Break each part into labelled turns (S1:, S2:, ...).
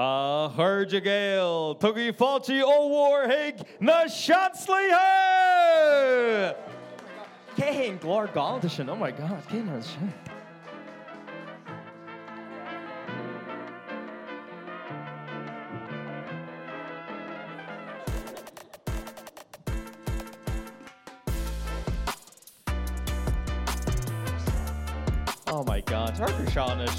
S1: A thuja gail tugaí fáiltí óhharthaigh na seanslaíthe! Céhéon glár gáilta sin ó Oh god, cé sin. Oh my god, Harker Shawnish.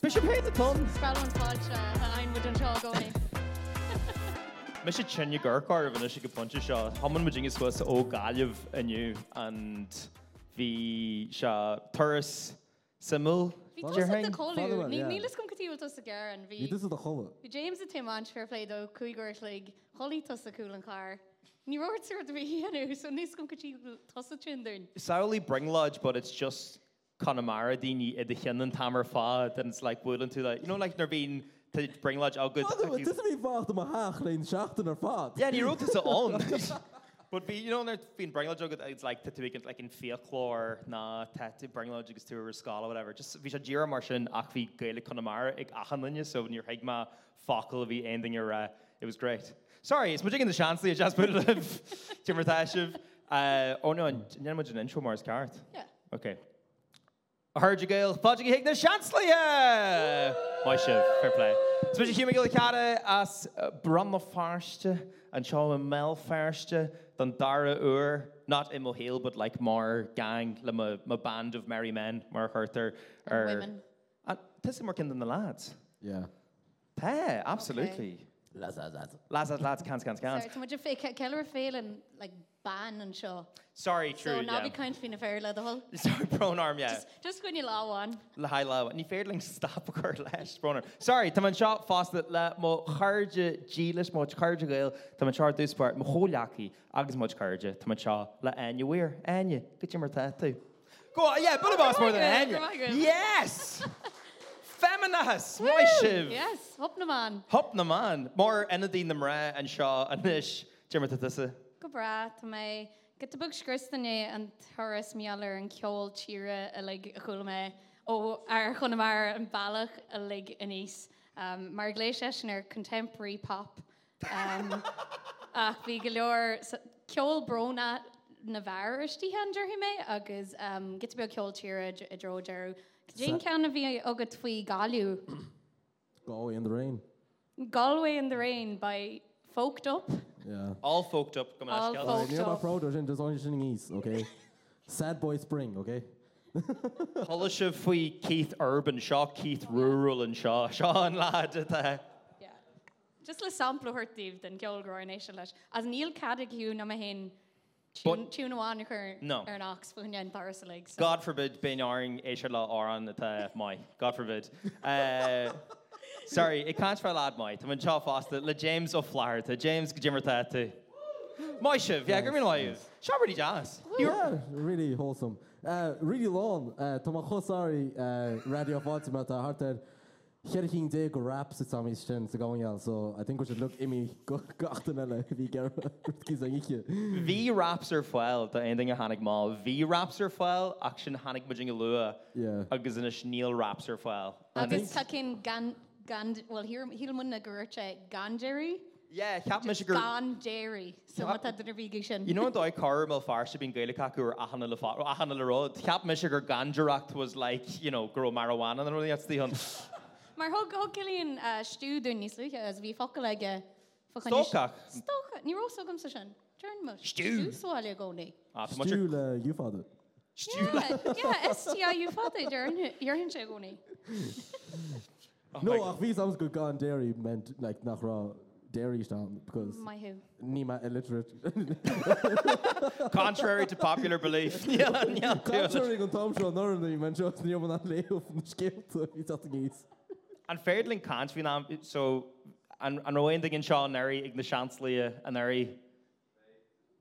S1: Bishop Hay the Tons.
S2: Spellin fáilte a aimmuid an seo gcóí.
S1: Me sé tenne gurcáir bhna sé go pontte seo. Thman mu dingus was ó galibh aniu an bhí se turas simú.
S2: Bhí tusa de
S3: Fadhuail,
S2: choú, ní
S3: yeah.
S2: nílas gom gotíúil tusa gar an
S3: Ní
S2: bhí.
S3: dus a chowa.
S2: Bhí James a Tim an fear pléid ó chuigirt le cholí tusa cool an cá. Ní roiirú a bhí héanú so níos gom gotí tusa tindún.
S1: It's not only bring lodge, but it's just Connemara dini at the hin and tamer fad, and it's like wooden to like you know like Nerveen to bring lodge all good.
S3: Dis mí bhacht am haach leon seachtain ar fád.
S1: Yeah, and he wrote this on. But be, you know, there's been bring lodge, it's like to take it like in folklore, na tattoo bring lodge is to a skull or whatever. Just vi a jira marshin akvi gaelic connemara ik achanlinya, so when your higma focal vi ending your uh, it was great. Sorry, it's much in the chancely, just put it up. Jimmer Tashiv. Uh, oh no, and you know an intro Mars card.
S2: Yeah.
S1: Okay. I heard you, Gail. Fudge you higna chancely, yeah! My shiv, fair play. Especially human gill cara as brumma farste and shaw a mel farste than dara ur, not in mohil, but like mar gang, like my, my band of merry men, mar herther.
S2: And women.
S1: And this is more kind than the lads.
S3: Yeah.
S1: Yeah, absolutely. Okay.
S3: Las las las.
S1: Lads, lads, lads, cans, cans, cans.
S2: Sorry, tá muidir fé ceir félan le ban an seo.
S1: Sorry, Sorry
S2: So
S1: true,
S2: ná
S1: yeah.
S2: bhí caiin fin a féir le hol.
S1: Sorry, pronoun, yeah.
S2: Just goin láháin.
S1: le heile ní féirling stop chu leis brenner. Sorry, Tá an seo fásta le má chuide dílas má chuide gail Tá an seart dúspáir mo choleaí agus má chuide Tá an seo le ainehir aine go mar te tú. Go é bud bás mór
S2: Cumhairge,
S1: an aine.
S2: cumhairge.
S1: Yes! Feminahas mai sib.
S2: Yes, hop naán.
S1: Hop na man, mór ina dtíon na ra an seo anis Jimar tuise.
S2: Go bra Tá mé get a bugskristanné an thuras meallar an ceol tíre a le a chola mé ó ar chuna mar an bailach a le in níos. Um, mar gléise sin ar contemporary pop. Um, ach bhí go leor sa- ceol brona na bhhartí hendir hi mé agus um, get be ceol tíre a d- a drodeú. Jane ceanna bhí eh, agad faoi galú.
S3: Go in the rain.
S2: Galway in the Rain by Folked Up.
S3: Yeah.
S1: All folked up go
S2: All
S1: an
S2: folk-
S3: Ní má
S2: Stop.
S3: frodo sin dus onsin níos, okay? Sad boy spring, okay?
S1: Hol se faoi Keith Urban seo Keith rural an seo seo an lád atá.
S2: Yeah. Just le sampla thuirtíh den ceolgroéis leis. e As níl cadaú na hen
S1: But-
S2: túúháin chu
S1: No.
S2: ar an ox fuine an Paris le.
S1: God forbid being oring eisiau la oran at my. God forbid. Uh, sorry, it can't for lad my. Tam yn chaw fasta le James O'Flaher to James Jimmer to. My shiv, yeah, give me no use. Shaw really jazz.
S3: Yeah, really wholesome. Uh, really long. Uh, Tá má chosari uh, radio Fatima tá hartar Cheiring dé go rap sa sam sin sa gáil, so I think we should look imi go gachtan eile bhí gar cí an iche.
S1: V raps are foil to ending a Hanig Mall. V raps are foil action Hanig Mujing Lua.
S3: Yeah.
S1: Agus in a Sneal raps are foil.
S2: agus tucin gan gan well hímun na goirte ganjéirí
S1: Yeah, Cap Michigan.
S2: e, gan déirí so
S1: Yeah.
S2: mata den bhí sin.
S1: You know, though, Carmel Farsi being Gaelic Haku or Ahana Lafa, Ahana Larod, Cap Michigan Ganjaract was like, you know, grow marijuana and really that's the hunt.
S2: Mar thug hogilíonn stúún níos luúthe as bhí foca leige
S1: Stocha.
S2: Stocha nírósagam sa sin. Turn mu.
S1: Stú.
S2: Stúáile gcónaí.
S1: Ah, tá much-
S3: Stú le dúfáda.
S2: Yeah, yeah, STIU father, Darren, you're in Chagoni.
S3: No,
S1: oh
S3: ach bhí sams go gan dairy meant like nach rá dairy stand because
S2: My who?
S3: ní ma illiterate.
S1: Contrary to popular belief. yeah, yeah, dude.
S3: Contrary an tom seo nó í man seo ní an léomh na scéalta hí tá níos.
S1: And Fairdling can't be nam so and and Rowan digging Sean Neri Igna Chancellor and Neri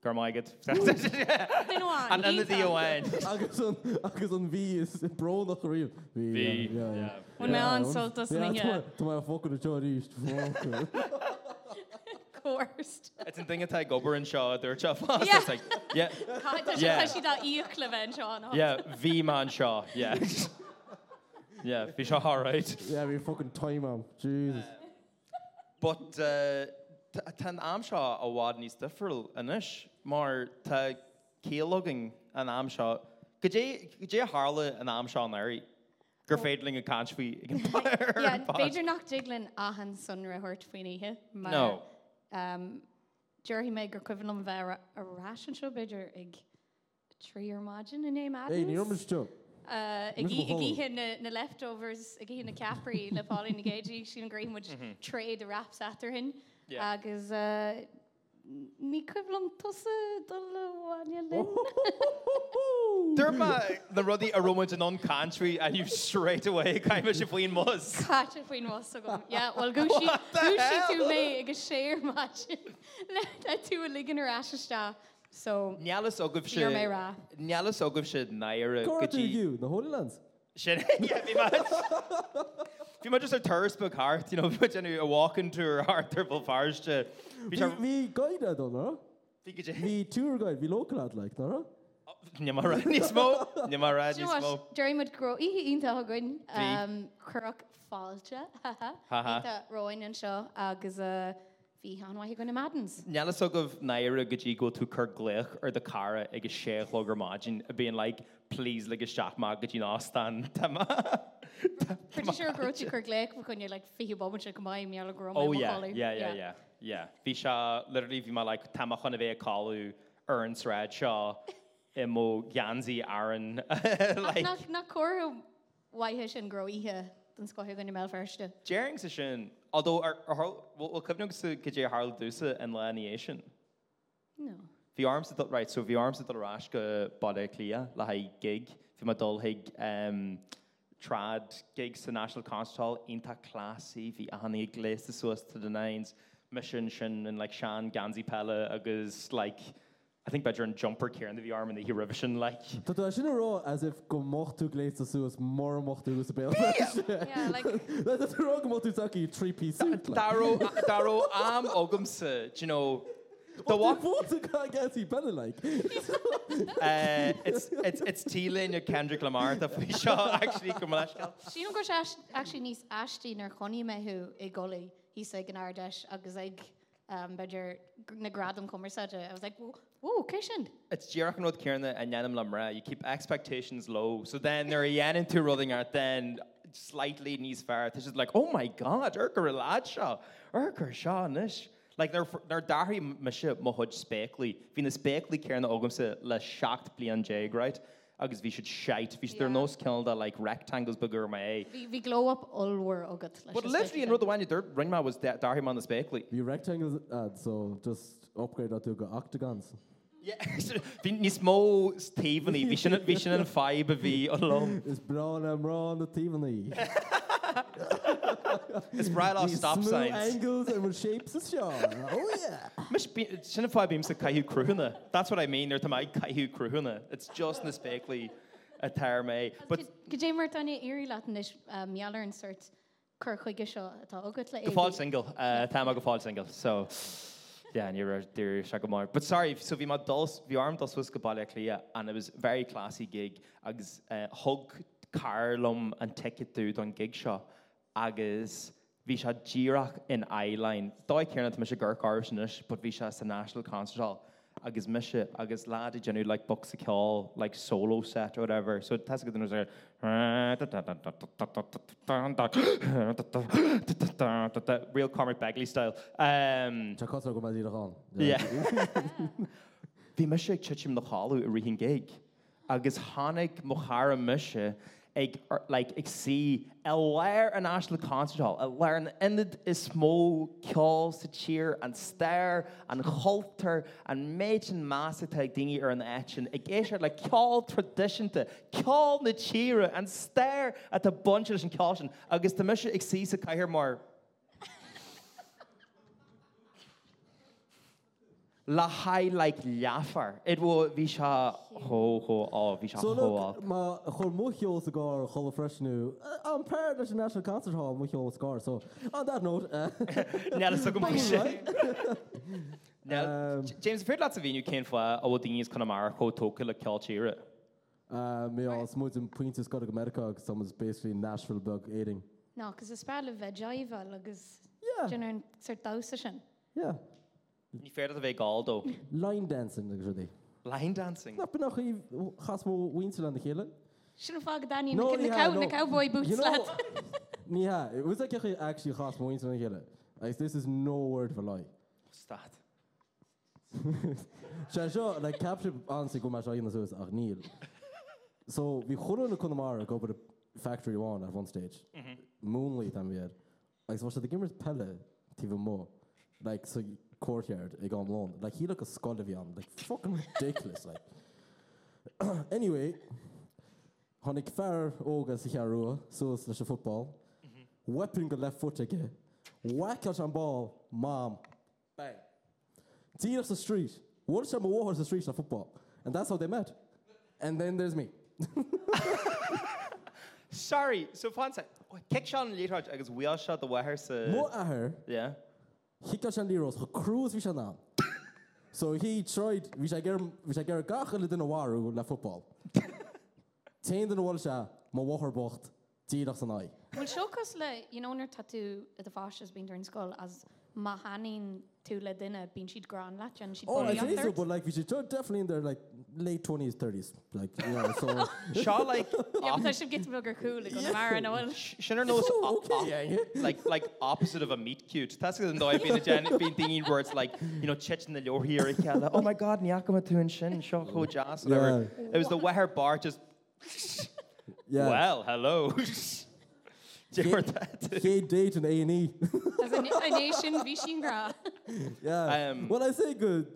S1: Garmigat.
S2: Then on.
S1: And then the
S2: Heath on.
S1: DON.
S3: agus an agus an bhí is bro nach riomh
S1: Bhí, yeah.
S2: When my aunt sold us an yeah,
S3: Tá mai fo na teo ríist
S2: coerced.
S1: It's in thing of like Gober and Shaw, they're chuff.
S2: Yeah.
S1: It's like, yeah,
S2: God, that's
S1: Yeah. Oh,
S2: actually that Euclid and Sean.
S1: yeah, V Man Shaw, yeah. Yeah, fish are all right.
S3: Yeah, we're fucking time on. Jesus.
S1: But tan amsha a wad ní stifriil inis, mar tá célogging an amsha. Go dé hála an amsha an airí gur féidling a canfuí ag
S2: Yeah,
S1: an
S2: Beiidir nach diglinn ahan sun rahuiirt faoinethe
S1: No.
S2: um, Dúirhí méid gur cuihanm bheit a rásan seo beidir ag tríar mágin in éim
S3: Hey, ní ormas teo.
S2: Uh,
S3: Mis go hall.
S2: gihé na leftovers a hí na capraí le fáí na géidir sin an Greenwood trade a raps atar hin
S1: Mm-hmm. Yeah.
S2: agus uh, ní cuilumm tosa doháine lin.
S1: Derma the ruddy aroma to non country and you straight away kind of between was.
S2: Cáte faoin was a gom. Yeah, well go si go si tú mé agus séir mat le tú a ligan ar asiste so
S1: Nialas oguf
S2: Bhíor mé
S1: se.
S2: rá.
S1: Nialas oguf se naira
S3: Go to you, the Holy Lands.
S1: Sin yeah, bhí mar- bhí mar just a thurs book heart, you know, bhí mar genú a walking to her heart purple farste. Bhí
S3: We,
S1: mar-
S3: we guide that, no?
S1: bhí go dé-
S3: We tour guide, we local at like, no?
S1: Ní mar raid ní smó, ní mar raid ní smó.
S2: Jerrymid gro í ínta ain
S1: Bhí.
S2: Um, chuach fáilte
S1: Haha.
S2: roiin an seo agus uh, bhí anhaith gona madans.
S1: Nelas agah naira go dtí go tú chur gléch ar de cara ag sé logur mágin a bíon le plís legus seaach má go dtí nástan
S2: Pretty sure grotí chu léic chun le fiú bob se go maiid meall gro.
S1: ó ja bhí se lirlí bhí mar le tamachchan a bheith cáú ar an sráid seo i mó gansaí aan
S2: na cho waithe sin groíthe den scoithe gona mé ferste.
S1: Jering sa sin, although er, ar cumneach sa go dé Harl dúsa an leation.
S2: No.
S1: Bhí arms a right, so bhí arms a ráis go bod clia le ha gig fi mar dulhiig um, trad gig sa National Constal inta cláí hí ahanana gléiste suas to the nines mission sin an like Sean Ganzi pelle agus like I think beidir an jumper cean bhí arm in hí revision like.
S3: Tá tá sin rá as if go mochtú lééis a suas mór mochtú gus a bé.
S2: Yeah, like,
S3: Le rá go mochtú taí trí pí.
S1: Daró daró am ógam sa, do you know, the walk
S3: bóta gasí pe like.
S1: Uh, it's it's it's Teelan your Kendrick Lamar the fish shot actually come on
S2: Sin go actually níos astí nar choní méthú i golí hí sé gan ardeis agus ag um, beidir gr- na gradam commerceide. I was like, "Whoa, cushion."
S1: it's Jirach and Kierna and Yanam Lamra you keep expectations low so then they're Yan and two rolling out then slightly knees far this is like oh my god Urker Ladsha Urker Shaw Nish like they're they're Dari Misha Mahud Speckley Vina Speckley Kierna Ogumsa la shocked Blian Jag right agus vi should shite vi should their
S2: Yeah.
S1: nose kilda like rectangles bigger my a
S2: Bhí bhí glow up allhar agad leis.
S1: but literally in Rotherwan your dirt ring was that Dari Man the Speckley
S3: Bhí rectangles ad, so just upgrade a tú go octagons.
S1: Yeah, Bhí ní smó Stephen bhí sin bhí sin an feib a bhí an lom.
S3: Is bra am rá na tíhaní.
S1: Is bra á stop signs.
S3: angles and with shapes is seo. Oh yeah.
S1: Mis bí- sinna feib bím sa caiú cruúna. That's what I mean ar tá maid caiú cruúna. It's just na spéclí a tear mé. But
S2: Go dé mar tanna irí leis meallar an suirt chur chuige seo atá agad le.
S1: go fáil single, uh, tá go fáil single. So yeah, and you're dear se go mar. But sorry, so bhí má dulce bhí arm dos was go bailile lia and it was very classy gig agus uh, hug carlumm an ticketú don gig seo agus bhí se ddíraach in eyeline. Dá cearna me se gur cáisnis, but bhí se sa National Concertall. agus mise agus lád genú le like, box a ceáil like solo set or whatever. So te go denús ar real Cormac Bagley style. Um,
S3: Tá cos go mai íán.
S1: yeah. Bhí me sé tuitim na háú a rihin géig. agus hánig mochara muise ag ar- like, ag si a leir an Ashla Concertall, a leir an inad is smó ceáil sa tír an stair an choultar an méid an másasta ag daine ar an éin. I ggéisiar le ceáil tradiisinta, ceáil na tíre an stair a tá bunte leis an ceáin, agus tá muise ag si sa caiir mar le haid le leafar. It bh bhí se hóó á bhí se
S3: So
S1: hóá.
S3: look, ma chur muchiol a gá chola freshnú an pair leis an National Concert Hall muchiol scar, so on that note, uh,
S1: Nela go mai sé.
S3: right?
S1: uh, James fé lá a víú cén fá a bh daníos chuna mar chotóca le ceátíire.
S3: uh, mé
S2: Right.
S3: ass moet een puinte Scott Amerika som is basically Nashville bug aiding.
S2: No, cos is spela vegiva agus
S3: Yeah,
S2: Jenner sir dausa sin.
S3: yeah.
S1: Ní fér a bheith gáildó.
S3: Line dancing ag rudi.
S1: Line dancing.
S3: Na bin nach chas mó Winland de chéle?
S2: Sin fag Danny
S3: No,
S2: na
S3: yeah,
S2: cow na
S3: no.
S2: cowboy boots
S3: You know-
S2: lad.
S3: Ní ha, ús a ceché actually chas mó Winland chéle. Like, this is no word for lie.
S1: Stad.
S3: Se seo le capture ansa go mar se na suas ach níl. So bhí chun na chumara go bud Factory One ar one stage. Moonlí am bhéad. Agus bhá se de gimmers pelle tí bh mó le sa courtyard ag an lán, le hí le go scoil bhí an, le fucking ridiculous le. Anyway, tháinig fear ógus i chearúa suas leis a football, weapon go le fut aige, whackil an ball, mám, bang. Teen off the street. What some war horse the streets of football. And that's how they met. And then there's me.
S1: Sorry, so fansa. Kick Sean Leitard agus bhil se do bhair
S3: Mo
S1: sa...
S3: a her,
S1: Yeah.
S3: he got Shandy Rose, he cruise we shall So he tried we shall get we shall get a gachel in a waru la football. Teen in the Walsha, ma war bocht, teen off the night.
S2: Well, show us le, you know, her tattoo at the fash has been during school as mahanin to le dinner being she'd grand latch and she'd
S3: Oh,
S2: be
S3: I
S2: on
S3: say so,
S2: third.
S3: but like we should definitely in their like late twenties, thirties, like you know. So
S1: Seá like...
S2: Yeah, but I should get to bugger cool like on
S3: Yeah.
S2: the mara and all.
S1: Sinner knows
S3: Ooh,
S1: op- op-
S3: Oh, okay, yeah, yeah.
S1: like like opposite of a meet cute. That's because though I've been a gen been thinking words like you know chit in the lore here Kella. Oh my god, Nyakama tu and Shin Shoko Jas whatever. Yeah. It was the Weher bar just yeah.
S3: yeah,
S1: well, hello. Do you remember that?
S3: gay date and A and E.
S2: As a, na- a nation vishin gra.
S3: Yeah.
S1: Um,
S3: Um, well, I say good.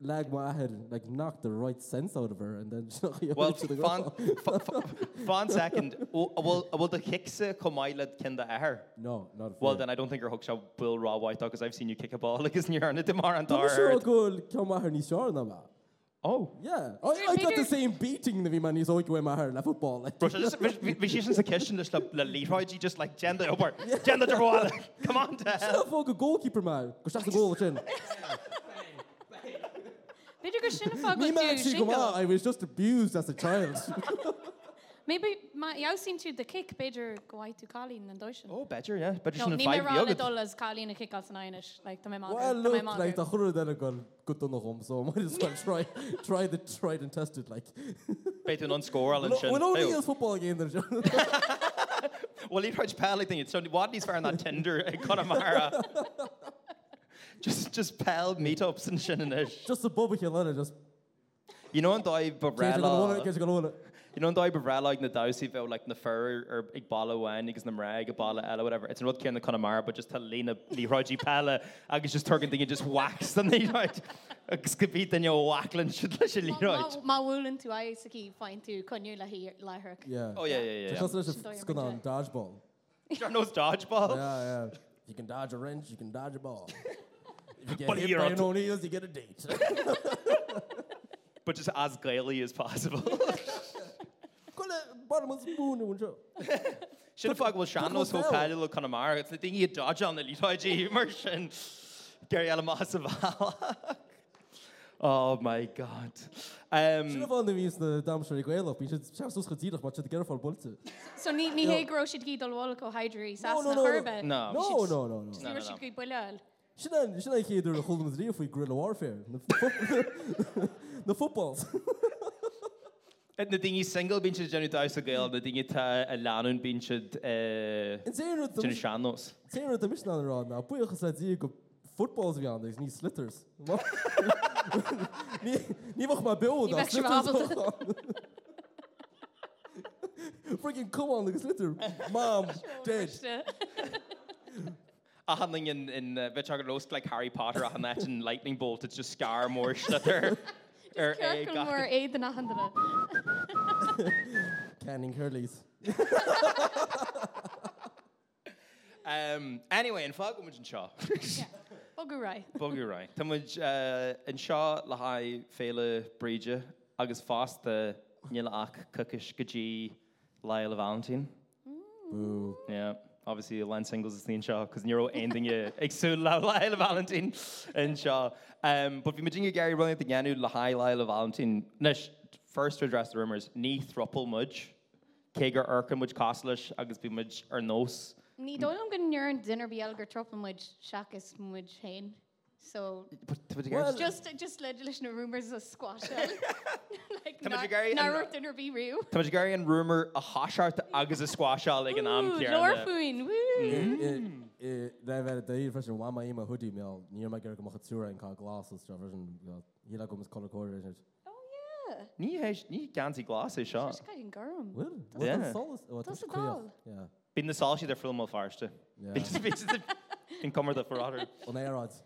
S3: Lag my head, like knocked the right sense out of her, and then she
S1: Well,
S3: to the
S1: fan,
S3: ground.
S1: fa- fa- fan second. Well, well, well the uh, Hicksa Komailad Kinda Aher.
S3: No, not a
S1: Well,
S3: fair.
S1: then I don't think your hookshot will raw white because I've seen you kick a ball like isn't your on it tomorrow and
S3: Tá mar
S1: tomorrow.
S3: seo ghfuil ceá ar ní seán amá.
S1: Oh.
S3: Yeah, I, I got the
S2: bigger-
S3: same beating na bhí man níos óid gofuim ar le football. Like,
S1: Bro, just vi sé sa cean leis le líráid í just le genda opair. Genda de bháile. Come on, Dad.
S3: fó go goalkeeper má, go seach ggóil sin.
S2: Bid you go shin fag
S3: Ní
S2: with
S3: man
S2: you
S3: si go má,
S2: shingle.
S3: I was just abused as a child.
S2: Maybe ma yau seen to the kick bidger go out to Colleen and Deutschen.
S3: Oh,
S1: Ó, Badger, Oh, yeah. Badger
S2: No,
S1: sin
S2: ni me
S1: five
S2: ran at
S1: yoga.
S2: all as Colleen a kick as an Irish like to my mom.
S3: well, look, like, tá chur den go go donna gom, so I might as well try, try the tried and tested, like.
S1: Beit an unscór all an
S3: Look,
S1: sin.
S3: We'll only
S1: Ew.
S3: use football game there, John.
S1: Well, líráid pell thing. It's only Wadney's fair on that Tinder in Connemara. Just just pell meetups and sin in it.
S3: Just a bubble kill on it, just.
S1: You know an dói barela.
S3: Ceir go bhna.
S1: You know an dói barela ag na dausi bhew like na fur or ag bala wain agus na mrag ag bala ela whatever. It's an rud cairn na Connemara but just tal lína líráid í pella agus just turgan thing and just wax the líráid. Agus gabít an yo whacklan should leis a líráid.
S2: Ma woolen to I saki find to connu la here la her.
S3: Yeah.
S1: Oh yeah, yeah, yeah.
S3: Just leis
S2: Just throw your
S3: scoil an
S2: mind
S3: dodgeball.
S1: yeah. knows dodgeball. Yeah.
S3: Yeah, yeah. You can dodge a wrench, you can dodge a ball. If you get
S1: But
S3: hit
S1: you're
S3: by
S1: on
S3: an
S1: t-
S3: O'Neill's, you get a date.
S1: But just as gaily as possible.
S3: Call it bottom of the moon, won't you?
S1: Should have fucking well
S3: Tuck
S1: Sean knows who
S3: Hotel.
S1: Paddy look on a mar. It's the thing you dodge on the Litoji immersion. Gary Alamas of Alak. Oh my god.
S3: Should
S1: Um,
S3: have only used the damn sure go up. You should have so geedig, but you should get it for bullet.
S2: So ni ni he grow should gi dol wall go hydri sas
S3: no,
S2: na
S3: no, no.
S2: herbe.
S1: no.
S3: No, no, no, no.
S1: No, no,
S2: Ni
S1: no.
S2: should gi bulal.
S3: Should I should I hear the whole of the if we guerrilla warfare? The footballs.
S1: And the thing you single being should Johnny Dice a girl. The thing you ta a Lanun being should
S3: And Sarah at
S1: Johnny
S3: the
S1: Sean knows.
S3: Sarah at the mission on the road now. Put your side you go footballs beyond these knee slitters. Nie nie mach maar beeld
S2: Die
S3: dat
S2: weg schwabelt.
S3: slitters. Freaking come on, the slitter. Mom, dead.
S1: A handling in in uh, Vichar Roast like Harry Potter. A handling in lightning bolt. It's just scar more slitter. Or uh,
S2: Cearcan mór éiad na handra.
S3: Canning Hurleys.
S1: Um, anyway, in fog muid an seo.
S2: Ogur rá.
S1: Bugú rá. Tá muid uh, an seo le haid féle bríide agus fásta níla ach cucis gotí le le Valentín.
S3: Ooh.
S1: Yeah. Obviously, line singles is the seo, because Nero ending you exul la Lyle Valentin and Shaw. Um, but if you imagine Gary running at the Yanu, la High Lyle Valentin, Nish, first to address the rumors, ní thropal mudge, Kager Erkin mudge Costlish, agus be mudge Ernos.
S2: Ní dóilm go nuair an dunar bí algur tropam muid seachas muid féin. So
S3: Well-
S2: just just le leis na rumors a squash. like
S1: Tá muid
S2: nar-
S1: ag airí an-
S2: nar dunar bí riú.
S1: Tá Gary an rumor a hashart agus a squashá ag an am Kier.
S2: Lorfuin.
S3: Eh,
S1: Mm.
S2: Woo.
S3: Raibh daí fres an bhama aime hoodí mé níor me gur go mocha túra an cá glas stra híla go colcóir.
S2: Oh yeah.
S1: Ní héis ní ganti glas é seo.
S2: Just got in garm.
S3: Bhfuil
S1: Yeah.
S2: That's a doll.
S1: Bin na sáisi ar film farste. In comer the forrotter.
S3: On érad.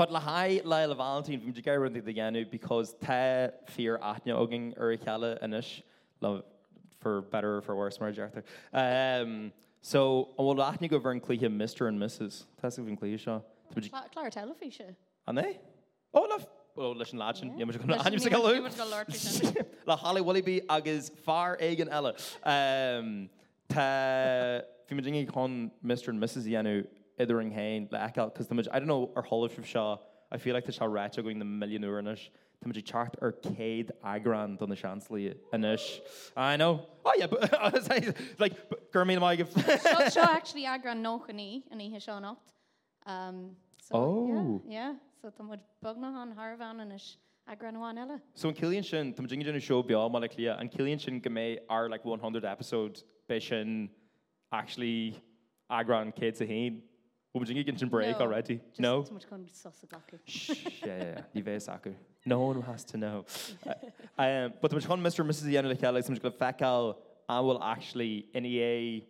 S1: But le hai le le Valentine from Jagar running the Yanu because te fear atnya oging urikala inish love for better or for worse marriage Arthur. Um, so I will atnya go vern clehe Mr. and Mrs. That's even clehe shaw.
S2: Cla- Clara Telefisha.
S1: An they? Oh love. Oh listen lachin. Yeah, but gonna anya sikalo. Le Holly Willoughby agus far egan ella. Um, ta fim dingi con Mr. and Mrs. Yanu ithering hain le ecal cos tamaj I don't know ar holish of Shaw. I feel like the Shaw Racha going the millionaire inish. Tamaj chart ar Cade Agran on the Chancelly inish. I know. Oh yeah, but honestly, like but Gurmeen Mike.
S2: Seo actually agran nóchaní an ihe seo nocht. Um, so,
S1: Oh.
S2: Yeah, yeah. So tá mud bugna an Harvan an is agranháin eile.
S1: So in Killian Shin, tam jingin jinu show beyond Malaklia, and Killian Shin game are like 100 episodes, Bishin actually Agron kids a hain. Wum jingin jinu break
S2: No,
S1: already. No?
S2: Tá mud chun sosa gacu.
S1: Shh, yeah, yeah, yeah. Ni ve saku. No one has to know. Uh, I am, but tam jingin Mr. and Mrs. Yanu Lakala, tam jingin Fakal, I will actually E NEA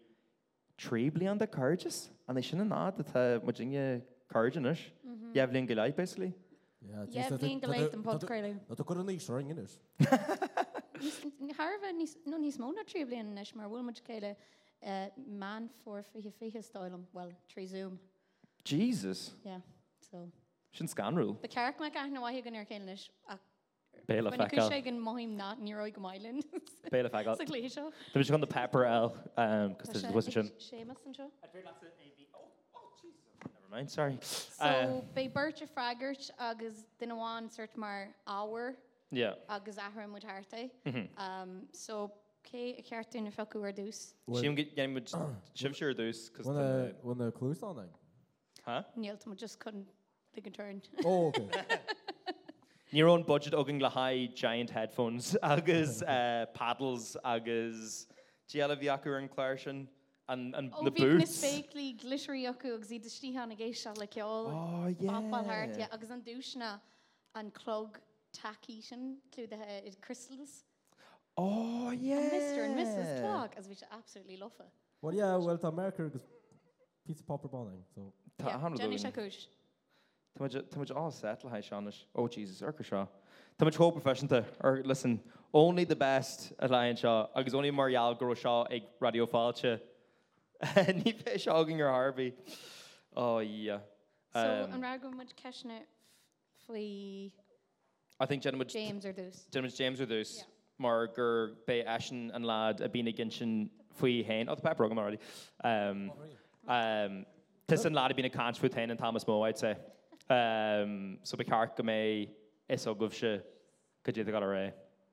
S1: trebly on the courages, and they shouldn't add that uh, Majinga courage in it.
S2: Mm-hmm.
S1: You have Lingalite basically.
S2: Yeah, blion go leith an podcréile.
S3: Tá chu í sering inis.
S2: Harvan nó níos móna trí blion is mar bhfuil mud céile man for fihe fihe stáilm, well, trí zoom.
S1: Jesus.
S2: Yeah, so.
S1: Shin scan rule.
S2: The carach me gaithna waithe gan ar céile is ach
S1: Bail a
S2: When you
S1: Fakal.
S2: shake and mohim not and you're like Mylan.
S1: Bail a Fakal.
S2: It's a cliche.
S1: Tá se an de pepper el cos it um, wasn't sin.
S2: Seamus and show.
S1: Nevermind, sorry. Uh,
S2: So they birch a fraggart agus dinawan search mar hour
S1: yeah.
S2: agus ahram with harte.
S1: Mhm.
S2: Um so ke a cartoon of facu or deuce.
S3: Well-
S1: Siim get gan mud shimshir dus cos
S3: Bhna bhna clúán.
S1: huh?
S2: Neil Tom just couldn't pick and turn.
S3: Ó
S1: Your own budget ogin le high giant headphones agus uh, paddles agus Giella Viakur and Clarshin and and
S2: Oh,
S1: the
S2: Vignis
S1: boots.
S2: Bakley, glittery yucku, agus i dishti han a geisha like y'all.
S1: Oh
S2: Bopal hart, yeah,
S1: yeah.
S2: agus an douchna an clog tackishan clue the uh, crystals.
S1: Oh yeah.
S2: Mr. and Mrs. Clark, as we should absolutely love her.
S3: Well, yeah, well, tá Mercur gus pizza popper banning, so
S2: Yeah, Jenny
S1: Tá
S2: Shakush.
S1: much all set le high Shanish. Oh Jesus, Urka Shaw. Tá much whole profession to or listen, only the best at Lion Shaw. agus only Marial Gro Shaw ag radio falcha. Ní fé seágan ar Harvey. Oh yeah.
S2: So
S1: Um,
S2: an ragam mud cashna flee
S1: I think Jenna much
S2: James or Deuce.
S1: Jenna James with this.
S2: Yeah.
S1: Mar gur bé Ashen and lad a bína ginsin faoi hain. Oh, the pep program already. Um, um, Tis an lad a bína cant faoi hain and Thomas Moe, I'd say. Um, so be cart go mé is o gufse cydyd ag ar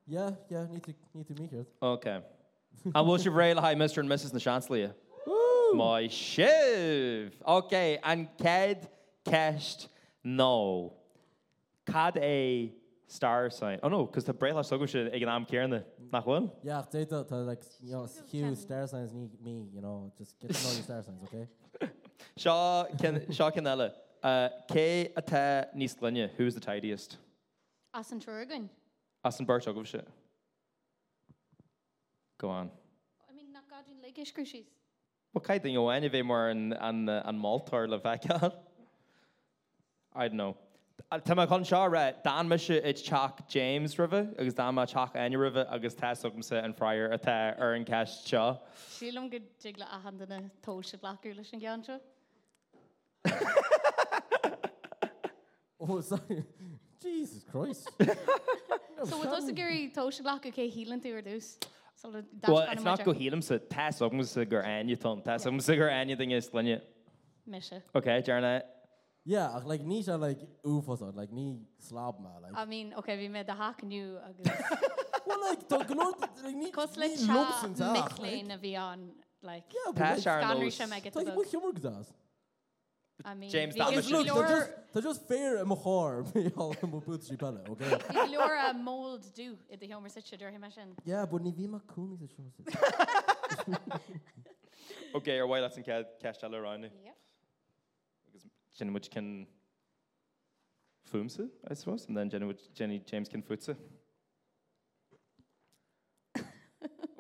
S3: yeah, yeah, need to need to meet it.
S1: Okay. and we'll shiv rail hi Mr. and Mrs. na Chancellor. My shiv. Okay, and ked kesht no. Cad a star sign. Oh no, because the braille has so good shit. Ig an am Kieran the not one.
S3: Yeah, data to uh, like you know
S2: Just go
S3: huge
S2: ten.
S3: star signs need me, you know, just get to know your star signs, okay?
S1: Shaw Ken Shaw Canella. Uh, K ata Nislinya, who's the tidiest?
S2: Asan Turgan.
S1: Aston Birch, I'll give a shit. Go on.
S2: I mean, not God in Lake Ishkushis.
S1: What kind of thing you any of more an an an Maltar Levaca? I don't know. Tama con shara Dan Misha it's Chalk James River, agus Dan Ma Chalk Anya River, agus Ta Sugumsa and Friar at Ta Erin Cash Cha.
S2: Sílam go digla a hand in a tóise blaú leis an gceantra.
S3: Oh, sorry. Jesus Christ. Oh,
S2: So bhfuil tos a gurí tóise blacu cé hílan tú ar dús. So le dash
S1: Well,
S2: ban
S1: it's
S2: am
S1: not
S2: idir.
S1: go Helimsa, Ta Sugumsa Gur Anya Tom, Ta Sugumsa Gur Anya thing is Linya.
S2: Mise.
S1: Okay, Jarna.
S3: Yeah, ach, like ní se like úfasá, like ní sláb má like.
S2: I mean, okay, bhí mé de haacniu agus
S3: Well, like tá gnóir like ní
S2: cos le
S3: ní lobs an teach,
S2: miléin a bhí an like
S3: Yeah, but,
S1: Tá
S3: like,
S1: Charles.
S2: scanrú sem me
S3: Tá mu humor das.
S2: I mean
S1: James
S2: bhí-
S1: Dalrymple.
S2: bhí
S1: Look,
S3: Look, tá
S2: leor-
S3: just tá just fair am chór mé all am bút sí bella, okay?
S2: bhí leor a mold dú i d homer si idir him sin.
S3: Yeah, but ní bhí má cúnig a chum.
S1: Okay, or why that's in cash dollar around.
S2: Yep.
S1: Jenny which can Fumse, I suppose, and then Jenny which Jenny James can Futse.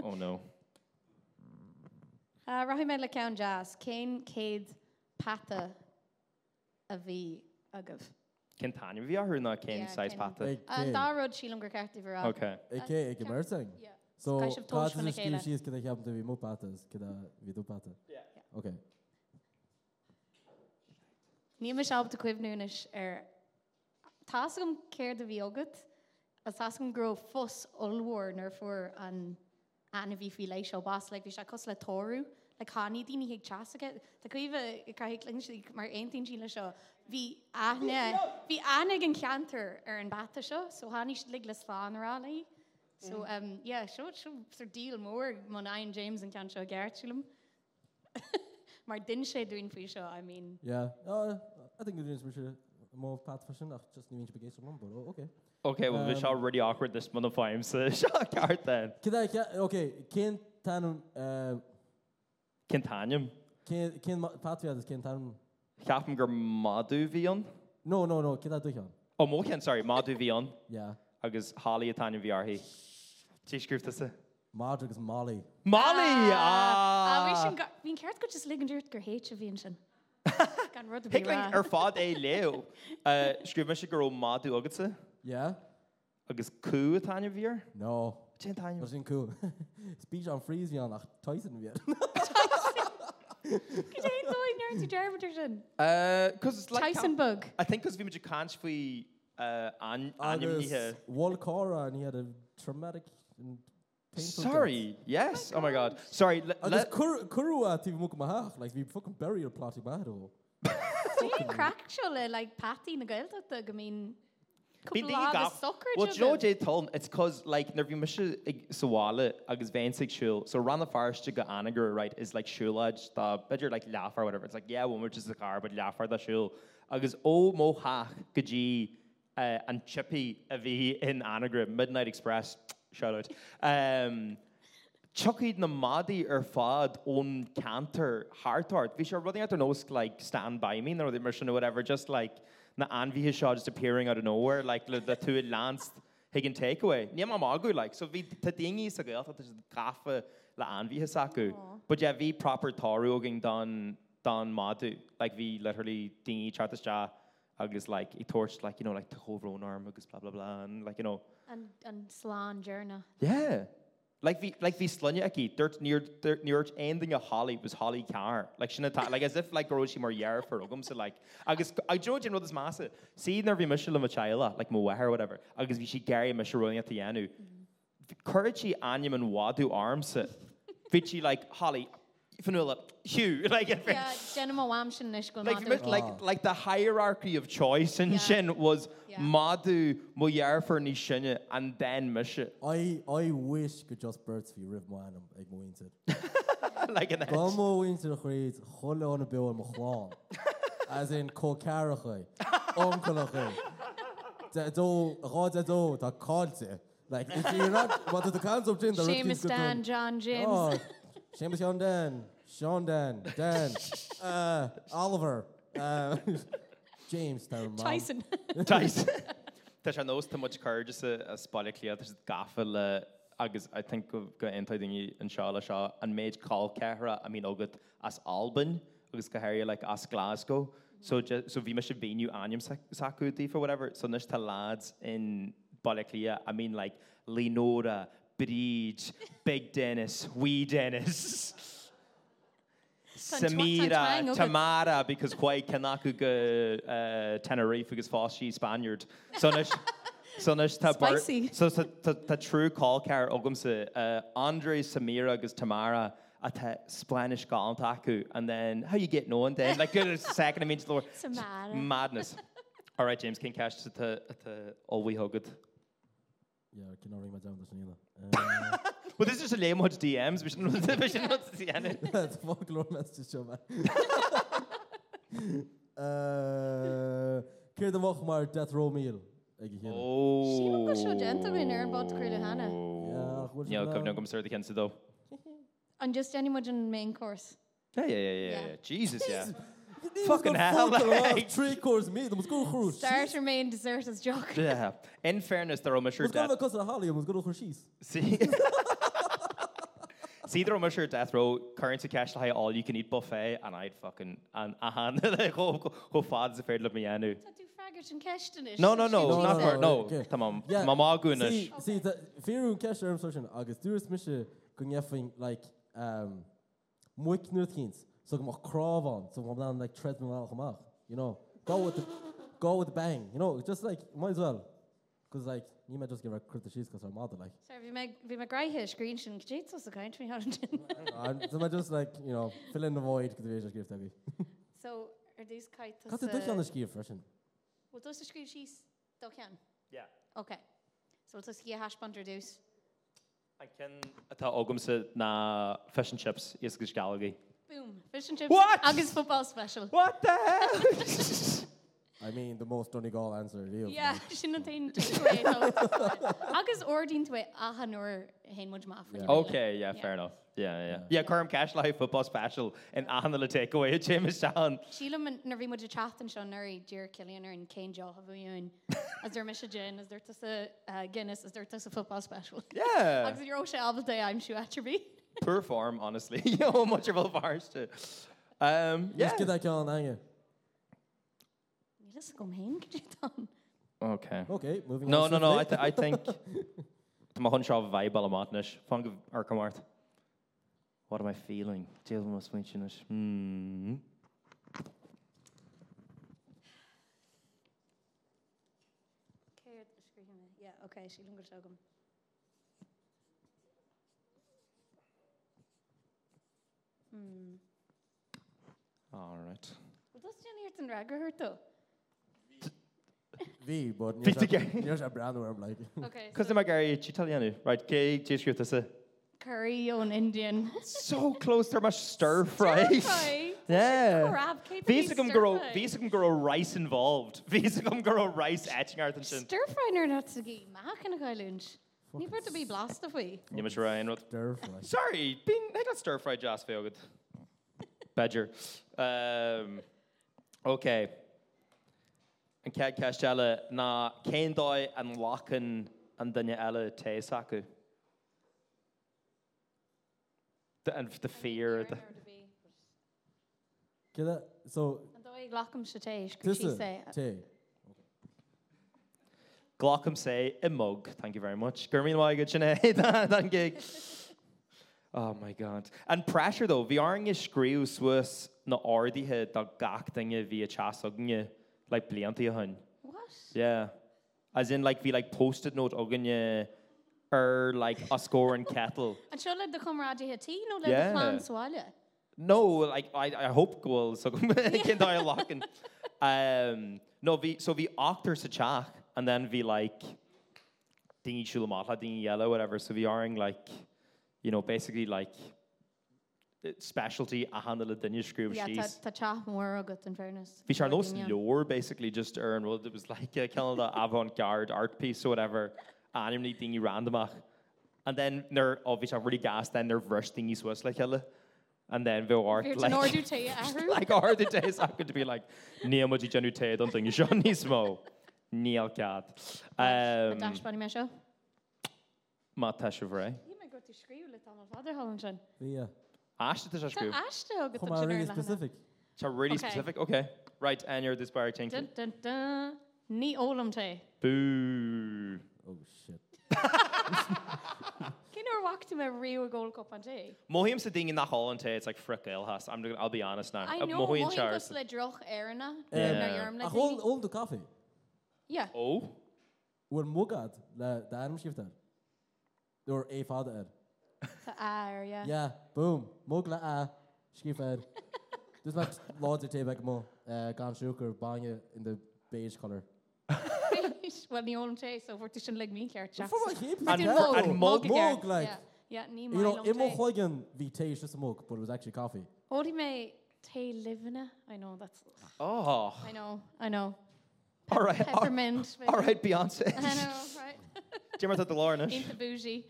S1: oh no.
S2: Uh, Rahí me le cean jazz, céin céad pata a bhí agah.
S1: Can Tanya be her not can
S2: Yeah,
S1: size
S2: Ken.
S1: pata?
S3: Eh,
S2: An dáród sílan gur ceirtí bhrá.
S1: Okay.
S3: Ike ike merting. So
S2: Sky Shift Tosh van de Gele.
S3: is gyda chi am dyfu mw patas gyda fi dw patas.
S1: Yeah.
S3: Okay.
S2: Ní me seab de cuimhnúnis ar Tás gom céir de bhí agat a tás gom gro fós olhór nar fuair an ana bhí fi leiéis seo bas le bhí se cos le tóú le chaní daoine hiag teasaige Tá chuomh cailing si mar aontain síle seo hí ane er hí anig an ceantar ar an bata seo so hánig si lig le sláánrálaí so um, yeah, seo seo díal mór man aon James an cean seo gceirtúlam mar din sé dún faoi seo I mean.
S3: Yeah. Uh, I think it is we should more pat fashion. Ach, just ni mynd i bygais o'n but okay.
S1: Okay, well, um, it's
S3: Um,
S1: already awkward this month of time, so shot card then.
S3: Gyda chi, okay, cyn tanwn, uh,
S1: Can Tanya?
S3: cyn cyn ma- patwiad is cyn tanwn.
S1: Captain Gur Madu Vion?
S3: No, no, no, gyda dwi hon.
S1: Oh, Mokan, sorry, Madu Vion.
S3: Yeah.
S1: Agus Holly Tanya Viarhi. Tishgrif Tissa.
S3: Madrig is Molly.
S1: Molly! Ah!
S2: Bhín ceart go is liganúirt gur héit a bhíon sin. Gan rud
S1: Hickling ar fad é leo. Uh, Sgrif me si gur ó Madu Agatsa.
S3: Yeah?
S1: Agus cú a Tanya Viar.
S3: No.
S1: Chin Tanya.
S3: Rwy'n sy'n cool. Speech on freeze fi on, ach, toes yn fi.
S2: Cdéir tú deirmidir sin.
S1: Because Uh, it's like...
S2: Tyson bug.
S1: I think because Vimaja can't be uh, an anime here.
S3: Agus, Wal Cora, and he had a traumatic and painful death.
S1: Sorry. Yes. Oh my God. Sorry. le-
S3: Agus
S1: let-
S3: cur- curúa tí mu go maithach, like bhí fucking burial plot i maithú.
S2: Bhíon crack seo le le patí na gailta a go mín
S1: Bhí daoine gab- Well, do you know what, Jay Tullen? It's because, like, nerv you miss Sawala, agus Vansig Shul. So, Rana Farish to get Anagar, right, is like Shulaj, the better, like, Lafar, whatever. It's like, yeah, well, we're just a car, but Lafar, the Shul. Agus O Mohach, Gaji, uh, and Chippy, Avi in Anagar, Midnight Express, shout out. Um, Chucky na Maddy ar fad on canter hartart. Bhí sé running out of nose like stand by me or the immersion or whatever, just like na anvi his shot just appearing out of nowhere, like le, the two lanced higgin takeaway. Ní má magu like so bhí ta dingi sa gael that is gafa la anvi his saku. But yeah, bhí proper taru ogin don don madu. Like bhí literally dingi chartas ja agus like he torched like you know like the whole own arm agus blah blah blah and like you know
S2: An sláán dearna.
S1: yeah. Like the like the slunya aki dirt near dirt near ending a Holly was Holly Carr like she not like as if like Roshi more yar for Ogum so like I guess I do you know this massa see nervy Michelle Machaila like Mowaha or whatever I guess we she Gary Michelle at the Yanu Courage Anyam and Wadu arms it Vichy like Holly Fanula Hugh like if
S2: Yeah, Jenna Wam sin is go
S1: like, like, like, like the hierarchy of choice in
S2: Yeah.
S1: yeah. Shin was
S2: Yeah.
S1: yeah. Madu Moyar for Nishinya and then Misha
S3: I, I wish go just birds fi rib maianam ag mhainte.
S1: like in the
S3: Go mhainte a chreid, chole on a bill am chláán. As in, có cara chui, omcala chui. Da dó, rád a dó, da cáilte. Like, if you're not, what the cans of gin, the
S2: Seamus Dan, John James.
S3: Oh, Seamus John Dan, Sean Dan, Dan, uh, Oliver, uh, James, tá mom.
S2: Tyson.
S1: Tais. Tá an nós tá muid chuir is a a spáile clia is gafa le eh, agus I think go go intaidingí an seá le seo an méid cá cehra a mí agad as Albban agus go hair le as Glasgow. So ju- so bhí me se bíú aim sacútaí for whatever, so nes tá láds in Balaclia, I mean like Leonora, Bridge, Big Dennis, Wee Dennis.
S2: Tan twa- tan twang
S1: Samira,
S2: ook
S1: Tamara, because why Kanaku go uh, Tenerife because Foshi Spaniard. So nish, so nish ta bur-
S2: Spicy.
S1: So ta ta- ta true call car ogumse uh, Andre Samira agus Tamara a te Spanish gal taku, and then how you get known then? Like good second I mean to the word.
S2: It's a mad.
S1: Mm. Madness. All right, James, can cash to the all we hugged.
S3: Yeah, I cannot ring my down this Nila.
S1: Well, this is just a lame much DMs. We shouldn't, we shouldn't yeah. see any.
S3: That's Eh, folklore message show man. Uh, Keir the moch mar death row meal. Ag i chéile.
S1: Oh.
S2: go seo déanta mé nuair an bád cruile hana.
S1: Yeah,
S3: Yeah, goed
S1: yeah, come
S3: gedaan.
S1: now, come sir, the cancer though.
S2: And just any much in main course.
S1: Yeah, yeah, yeah, yeah,
S2: Ja.
S1: yeah. Jesus, yeah.
S3: These
S1: Fucking
S3: got
S1: hell,
S3: folklore,
S1: like-
S3: Three course meal, the must go chorus.
S2: Start or main dessert is joke.
S1: yeah. In fairness, they're almost sure
S3: Must go
S1: that.
S3: to cousin Holly, must go to chorus.
S1: See. See, they're almost sure death row currency cash to high all you can eat buffet, and I'd fucking and a hand oh, go go fads if I'd love me anu.
S2: Tá tú fraggart an ceistan is.
S1: No, no, no, no,
S3: No,
S1: not
S3: no,
S1: for
S3: no,
S1: no.
S3: okay.
S1: Come on,
S3: Yeah,
S1: my ma goonish.
S3: See, see that fearún ceis arm social agus dúras mise gon effing like um muic nuirtíns so go chráhán so go ná le tre amach you know go with the, go with the bang you know just like might as well because like ní me just give a crit she's because her mother like
S2: Sorry, bhí me- bhí me graithe scrín sin goéitsos a gaiint mí há.
S3: I'm, so I just like you know fill in the void go bhéidir give tagí
S2: So er ar dús caiit.
S3: Ca du an cí freisin
S2: Well, does the screen she's docan?
S1: Yeah.
S2: Okay. So does he a hash bun reduce?
S1: I can atá ógamsa na fish and chips is gus galagaí.
S2: Boom. Fish and chips.
S1: What?
S2: Agus football special.
S1: What the hell?
S3: I mean the most Donegal answer real
S2: Yeah, sin na tain tué. Agus ordín tué ahan or hen much ma.
S3: Yeah.
S1: okay, yeah,
S2: Yeah.
S1: fair enough. Yeah, yeah. Yeah, Curm Cash Live football special in Anna takeaway at James Down.
S2: Sheila na bhí muid a chatan seo nuirí Dear Killianar an Cain Jo a bhúin. As there mis a gin, as there tas a uh, Guinness, as there tas a football special.
S1: Yeah.
S2: Agus your Osha Alba Day, I'm sure attribute.
S1: Poor form, honestly. you know how much of a farce to. Um, yeah.
S3: get that an anger
S2: Ní lis go hen go tan.
S1: Okay.
S3: okay moving
S1: No,
S3: on
S1: no, no. I,
S3: swiftly.
S1: th- I think my hunch of vibe a matnish. Fung of Arkamart. What am I feeling? Jail must mention it. Hmm.
S2: Cair a scríne. Yeah, okay, Sheila go sogam. Hmm.
S1: All right.
S2: Well, does Jenny Hirton Ragger hurt though?
S3: Bhí, but
S1: Bhí tú gé-
S3: níor sé brandm like
S2: Okay.
S1: Because I'm a Gary Chitaliano, right? K. J. Scriptus.
S2: curry on Indian.
S1: So close to my stir fry. Yeah.
S2: Crab cake.
S1: Visicum grow, Visicum grow rice involved. Visicum grow rice etching Arthurson.
S2: Stir fry nor not to get mac in a guy lunch. Ni bert to be blast of we.
S1: You must Ryan. what-
S3: derf like
S1: Sorry, being I got stir fried Joss Failgood. Badger. Um, okay. And Cad Castella na Kendoi and Lochin and Daniela Tesaku. The, and the fear. The,
S3: Get that? So,
S2: And though I glock him shatash, could
S3: this
S2: she
S3: is
S2: say?
S3: Tay.
S1: Glockham say a mug. Thank you very much. Gurmeen why good Sinead that, that gig. oh my god. And pressure though, vi aring is screw Swiss na ardi he da gach dinge via chasugne like blianti hun.
S2: What?
S1: Yeah. As in like vi like posted note ogne er like a score and kettle.
S2: And she'll let the comrade here tea, no let
S1: Yeah.
S2: the clan swallow.
S1: No, like I, I hope goal so can die locking. Um no vi so vi actor sa chach and then vi like dingy shulamata, dingy yellow, whatever. So vi aring like you know, basically like it- specialty a handle a dingy screw
S2: Yeah,
S1: she's.
S2: ta cha more good in fairness.
S1: Bhí sé nos leor basically just ar an rud it was like a kind of avant-garde art piece or whatever animally dingy randomach and then they're obviously really gassed then they're rushed dingy Swiss like hella and then they'll art
S2: Here to nor do
S1: like
S2: tea,
S1: like are the days I'm going to be like Neil Mudgy Genu Tay don't think you should Nismo Neil Cat um
S2: Dash bunny my show.
S1: Matt Tashavray
S2: You might go to screw with Tom Father Holland.
S3: Yeah.
S1: Ashton Tashku
S2: Ashto good
S3: Come on, really
S2: to
S3: specific.
S1: it's a really
S2: Okay.
S1: specific okay right and you're this bar change
S2: Dun dun dun. Ní ólam te.
S1: boo
S3: Oh, shit.
S2: Cin ar bhachtta me riú ggóilcó an dé?
S1: Mohim sa dingin nach Holland Tay it's like frick ill has I'm gonna I'll be honest now
S2: I
S1: Uh,
S2: know
S1: Mohian
S2: maithín
S1: Charles.
S2: cos le droch éanna
S1: Yeah.
S3: A whole old Ah, the coffee.
S2: Yeah.
S1: Oh,
S3: We're mugad, the Adam Shifter. Or a father.
S2: Tá air, yeah.
S3: Yeah, boom. Mug le a scífeir. Dus me láidir té beh mó uh, gan siúgur bange in de beige color.
S2: Well, ní ólum sé, so bhór tu sin le mí ceart.
S1: And- and mug
S3: mug like
S2: Yeah, ní
S3: you know
S2: mai
S3: imo
S2: lom té.
S3: chuigen hí tééis just a mug, but it was actually coffee.
S2: Odi me te livna. I know, that's...
S1: Oh,
S2: I know, I know.
S1: all right. all-
S2: Peppermint. maybe.
S1: All right, Beyonce.
S2: I know, right?
S1: Jimmer at the Lorna.
S2: Inta bougie.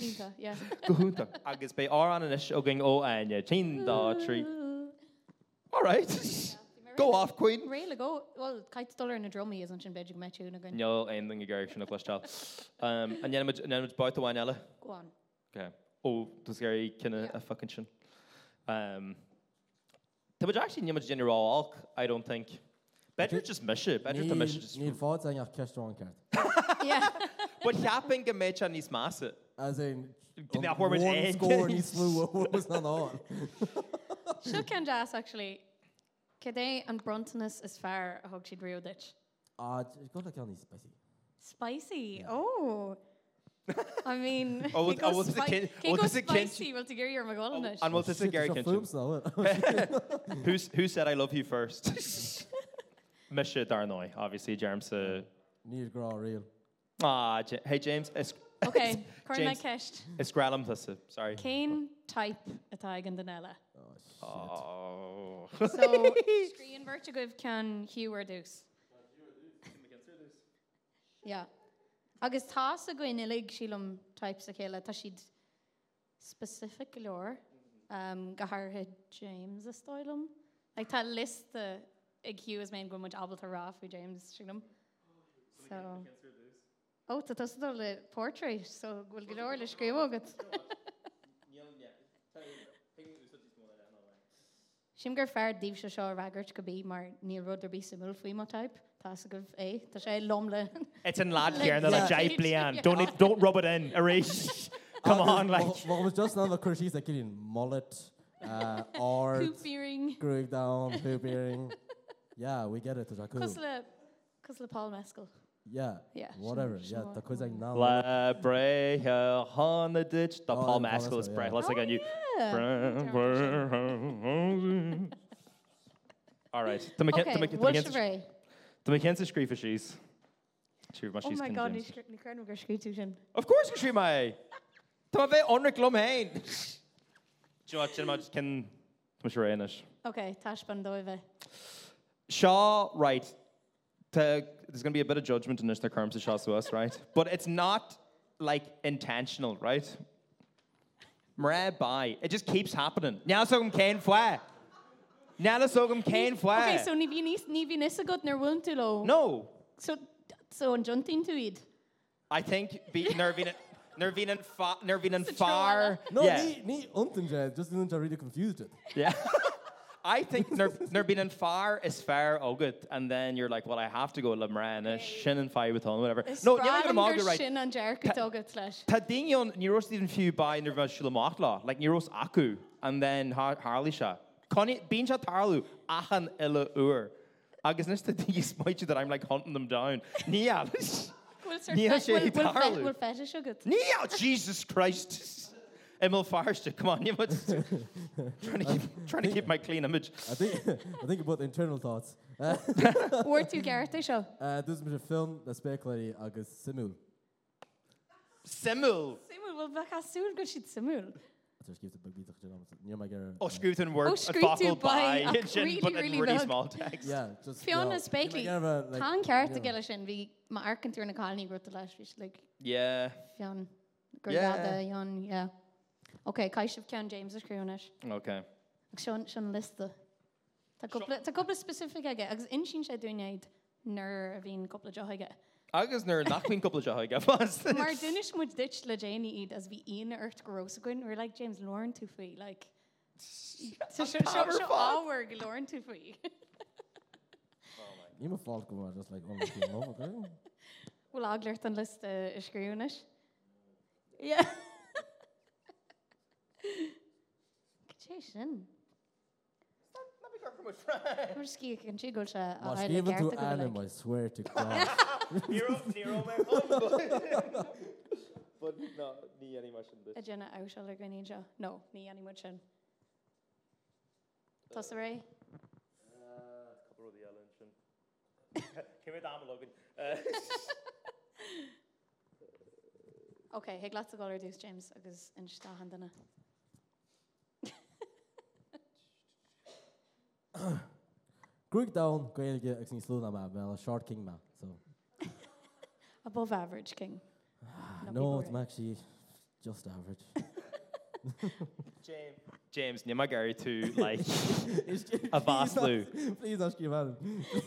S2: Inta, yeah.
S1: Gohunta. Agus be ar an is ogin ó aine. Chin da tree.
S2: Mm.
S1: All right. Go off, Queen.
S2: Réile go well caiit dollar in a drumí is an sin beidir metú na gan
S1: No, ein thing a garrish in a flesh child. Um, and then I'm going to buy the wine, Ella.
S2: goáin.
S1: Okay. Oh, does Gary kind of
S2: Yeah.
S1: a fucking chin? Um, Tá bud actually nimid general alk, I don't think. Better just miss it. Better to miss it. just-
S3: Níl fád an ach ceán ceart.
S2: Yeah.
S1: But happening a match on his mass.
S3: As in
S1: Give me a warm egg.
S3: score ní slú was na á.
S2: Seo cean jazz actually. Cadé an brontanas is fear a thug siad riú deit.
S3: Ah, go le ceanní spicy.
S2: Spicy. Oh. I mean,
S1: Oh, well,
S2: cé
S1: oh,
S2: go
S1: well, this is a
S2: spi-
S1: kin-
S2: cé
S1: oh,
S2: go
S1: this is a kin-
S2: spicy bhil tú gur ar magáis.
S1: And we'll just say Gary Kitchen.
S3: Fuúms ná.
S1: Who's, who said I love you first? Misha Darnoy, obviously, James. Uh,
S3: Níl grá réal.
S1: ah, J- hey, James. Is,
S2: Okay, chuir me
S1: James.
S2: ceist.
S1: is Gralum Tissa. Sorry.
S2: Céin type atá ag an danile.
S1: Oh.
S2: So screen virtu goibh cean hiúar dús. Yeah. Agus tá a go inlig sílam types a chéile tá siad specific leor um, gotharthe James a stoilm. Ag tá list ag hiú is mé go muid abal ará fú James sílam. So. Ó tá tas dul le portrait so bhfuil go leir le scríom agat. Sim gur fear díh se seo ragart go bí mar níl rud ar bí sa mú faoi má type, Tá a goh é eh, Tá sé lomle.
S1: It's in lad
S2: Like
S1: here, and they're like,
S2: yeah.
S1: Jai Blian. Don't, need- don't rub it in. Erase. Come on, like.
S3: What was just another crushie that getting mullet, uh, art,
S2: Hoopering.
S3: screwing down, hoop earring. Yeah, we get it. It's like cool.
S2: Cos le cos le Paul Mescal.
S3: Yeah,
S2: Yeah, sure,
S3: whatever. Yeah,
S2: sure.
S3: the quiz like now.
S1: La Breja on the ditch. The
S3: Oh,
S1: Paul
S3: and Paul
S1: Maskell is
S3: Mescal,
S1: Breja.
S3: yeah.
S2: Oh,
S1: Let's look at you. All right. To
S2: Okay, what's your
S1: McKenzie
S2: ray?
S1: Screefishies.
S2: Oh my god, ní scr- ní crunn go scrítú sin.
S1: Of course, Shri Mai. Tá bheith onra glomhain. Joa sin má cin mu réis.
S2: Ok, táis ban dóibh.
S1: Shaw, right. To, there's going to be a bit of judgment in this, the terms of Shaw to us, right? But it's not like intentional, right? Mra by. It just keeps happening. Now sogum cain fwa. Now sogum cain fwa.
S2: Ok, so ní bhí níos ní bhí nís a god nar bhún tú lo.
S1: No,
S2: So so an juntín tú iad.
S1: I think be nervin nervin and fa, nervin and
S2: It's a
S1: far.
S3: No,
S1: yeah.
S3: ni ni unten jazz. Just didn't I really confused it.
S1: Yeah. I think ner, ner being in far is fair, oh good. And then you're like, well, I have to go Lamran, Shin and Fi with on, whatever. No, you know, I'm all
S2: Spreagan gur
S1: right.
S2: sin an
S1: Ta-
S2: dearcad agat leis.
S1: Tadinion, Neuros didn't few by Nervan Shilamatla, like Neuros Aku, and then Har- Harlisha. Connie, Binsha Tarlu, Achan Illa Ur. Agus nes the thing you smite you that I'm like hunting them down. Nia,
S2: Bhfuil sir
S1: Níl
S2: fe-
S1: sé
S2: bhfuil- bhfuil fe-
S1: tarlú.
S2: bhfuil fetis agat.
S1: Nia, Jesus Christ. Emil Farster, come on, you must. trying, to keep, trying to keep my clean image.
S3: I think I think about internal thoughts. Uh,
S2: Bhfuir tú garta seo.
S3: uh, this is a film that's speculated agus simul.
S1: Simul.
S2: Simú bhfuil bhechaú go siad simú.
S3: I just give the big beat to John. Near my girl.
S1: Oh, Scruton works
S2: Oh,
S1: at Buckle
S2: Scruton by
S1: by
S2: a
S1: Hitchin, but
S2: really,
S1: in
S2: really
S1: really
S2: bug.
S1: small text.
S3: Yeah, just
S2: Fiona
S3: Near
S2: Spakely.
S3: my girl, like,
S2: Tá an ceart a
S3: yeah.
S2: geile sin bhí má arcanú na cáí gro leis vis le
S1: Yeah.
S2: fion
S1: Yeah.
S2: jon Ok, caiisih cean James aríúnis
S1: Okay.
S2: ag sean sin lista. Tá cúpla- Tá cúpla specific aige agus insin sé dúnéid nar a bhín coppla deige.
S1: Agus nar nachfuin couple jo haig afas.
S2: Mar dunis mu dit le Janie iad as bhí on ort grosain ar le James Lauren tú faoi le
S1: power fuck.
S2: áhar go Lauren tú faoi.
S3: You must fall come on, just like oh, okay, oh, okay.
S2: Bhfuil aglaart an list eh, iscrúnis? Yeah. Sé sin. Mar cí an si go se
S3: Well, she even to Adam, I swear to God.
S1: Nero, Nero, But no, ní any mar sin.
S2: A dena á se le gníide? No, ní animmu sin.
S1: Eh.
S2: Tás a ré?
S1: Uh, Couple of the Ellen sin. Cyn mynd am Logan. Uh,
S2: Ok, he glas a gáir dús James agus in stahan duna.
S3: Grúg down goige ag sin slúna má bhil short king má. So
S2: Above average king. Not
S3: Ah, no,
S2: people
S3: it's
S2: right.
S3: actually just average.
S1: James. James, ní mai Gary tú like a
S3: Please not-
S1: vaslú.
S3: Please ask your man.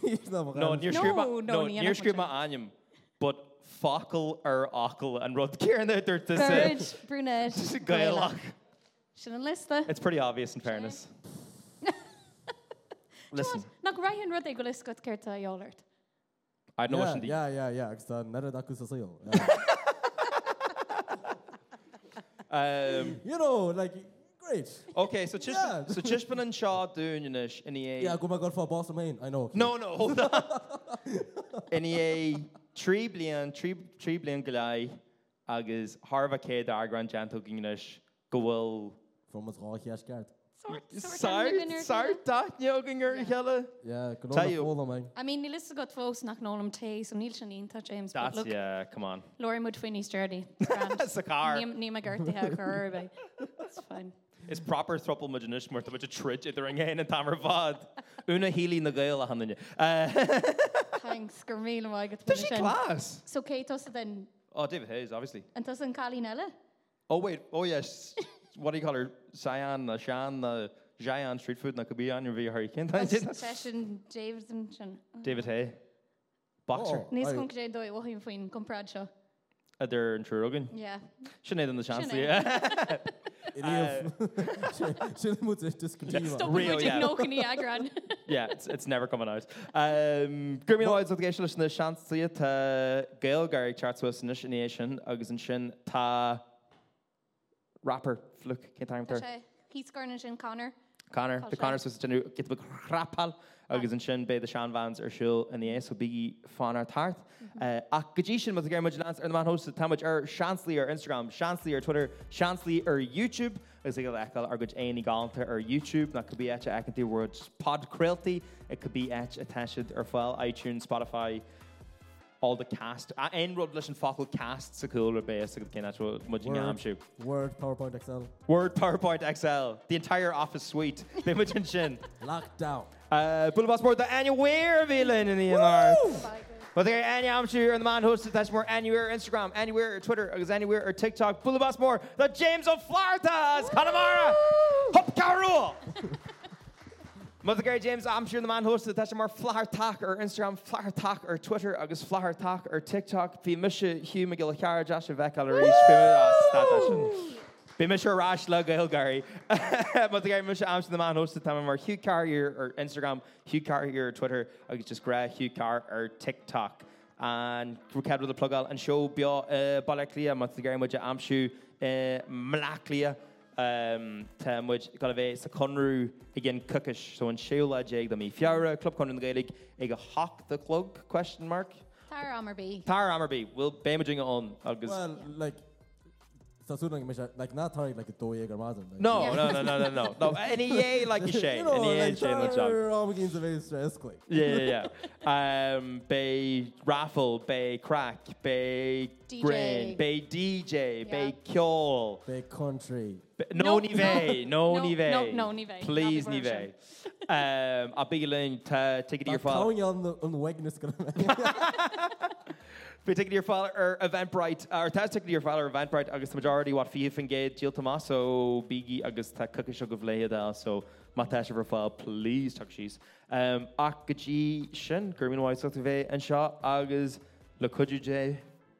S3: Please not.
S1: No, níor
S2: No,
S1: scrúb
S2: no,
S1: no,
S2: ní
S1: níor
S2: anach
S1: scrúb
S2: mar
S1: aim, but focal ar ocle and rud cearan idir to
S2: Courage, brunette.
S1: say
S2: Gaeilge.
S1: gaelach.
S2: Sin an lista.
S1: It's pretty obvious in fairness. Listen,
S2: Nach rahann rud é go liscot ceirta eolairt.
S1: I know
S3: yeah,
S1: what you
S3: yeah, yeah, yeah. Agus tá nara dacu sa sail.
S1: Um
S3: You know, like great.
S1: Okay, so just
S3: Yeah.
S1: so just been in Shaw doing in ish in the
S3: Yeah, go my god for boss main. I know.
S1: No, no, hold on. In the tree blian, tree tree blian galai agus harva ke dar grand janto ginish go will
S3: From us raw cash card.
S2: Oh,
S1: Sar sar dat yoginger hella.
S3: Yeah, go
S1: Tell you.
S3: on follow man.
S2: I mean, ní lista got fós nach nólam té, so níl sin ínta James. but
S1: That's
S2: look,
S1: yeah, come on.
S2: Laurie mu Twinnie's dirty.
S1: That's a car.
S2: Ní me gurtí a chur It's fine.
S1: It's proper thruple majinish murta which a trid at the ring and tamar vad. Una healy na gael a hananya. Uh,
S2: Thanks, gur mí mai go
S1: Does she class?
S2: So Kate tosa den
S1: Oh, David Hayes, obviously.
S2: an tas an cálí nela?
S1: Oh wait, oh yes. what do you call her? Cyan, uh, Shan, uh, Jayan street food na kabi on your via hurricane.
S2: Session James and sin.
S1: David Hay. Boxer.
S3: Oh.
S2: Níos
S3: Aye.
S2: chun cré dói bhhaim faoin comprad seo.
S1: Oh. They're in Trurogan.
S2: Yeah.
S1: Sinead in the chance.
S2: Sinead.
S1: Yeah.
S3: Uh, Shouldn't move this discontinue.
S1: Stop.
S2: Stop
S1: Real,
S2: muid
S1: yeah.
S2: nó ní agran.
S1: yeah, it's, it's never coming out. Um, Grimmy Lloyd's with Geisha Lish in the chance to it. Uh, Gail Garrick charts with Sinish in Asian, Augustin Shin, Ta rapper, Fluke, can't time her.
S2: He's garna sin Connor.
S1: Connor,
S2: Tá
S1: the
S2: sé.
S1: Connors was genu get the rapal agus an sin be the Sean Vans or Shul in the S will be fan our tart. Uh, Ach gajishin with the Gary Mudgelance and the man hosted Tamaj or Shansley or Instagram, Shansley or Twitter, Shansley or YouTube. Agus ag lecal ar gud aini galanta ar YouTube. Na could be at a the word pod cruelty. It could be at attached or file iTunes, Spotify. All the cast, ein rud leis an focal cast sa cool ar bé a go cin mudging am siú.
S3: Word, PowerPoint, Excel.
S1: Word, PowerPoint, Excel, the entire office suite, the mudging sin.
S3: Lockdown.
S1: Uh, Boulevard Sport, the annual wear of Elin in the ENR. But there, Annie, I'm sure you're the man hosted. That's more anywhere Instagram, anywhere or Twitter, because anywhere or TikTok. Boulevard Sport, the James of Florida's Connemara. Hop Carol. Mother Gary James, I'm sure the man hosted. That's more Flower Talk or Instagram, Flower Talk or Twitter, August Flower Talk or TikTok. Be Misha Hugh McGillicara, Josh Vec, Alarish. Be Misha Rash Luggail Gary. Mother Gary Misha, I'm sure the man hosted. Time more Hugh Carrier or Instagram, Hugh Carrier or Twitter, August just grab Hugh Carr or TikTok. And we cadw the plug out and show bio uh, Balaclia, Mother Gary Misha, I'm sure uh, Malaclia um, tem which got a bit sa conru again cookish so in Sheila Jake the me Fiara club conru in the Gaelic ag a hawk the club question mark
S2: Tar Amar B.
S1: Tar Amerby will be imaging it on agus
S3: Well, like, so soon like, Misha- like not target like a doye or mazin.
S1: no
S2: Yeah.
S1: no no no no no no any yay like a shame any yay shame like job
S3: We're all against the very stress quick.
S1: yeah yeah yeah um, be raffle be crack be
S2: DJ.
S1: grin be DJ
S2: Yeah.
S1: be kiol
S3: Big country.
S1: B- No, no
S2: No,
S1: nive, no,
S2: no,
S1: no
S2: no,
S1: nive.
S2: no, no nive.
S1: Please
S2: Not the
S1: nive. um, I'll be learning to take it to your father.
S3: Calling on the on the wagon is gonna. make-
S1: Be take it to your father or Eventbrite uh, or test take it to your father or Eventbrite. August the majority what fee and gate Jill Tomaso Biggie August ta cookish of Leida so Matasha for file please talk she's um Akaji Shin German White Sotive and Shaw August Lakuju J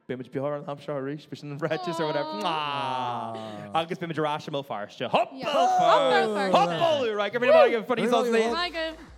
S1: Bimage Bihar and Hampshire Reach Bishan and Ratchets or whatever. Ah. August Bimage Rashomil Farsh. Hop!
S2: Yeah. Hopper
S3: Hop
S2: first.
S1: Hop all right. Give me the mic in front of
S3: Bring
S1: yourself.
S3: all your
S1: please.
S2: Maiga,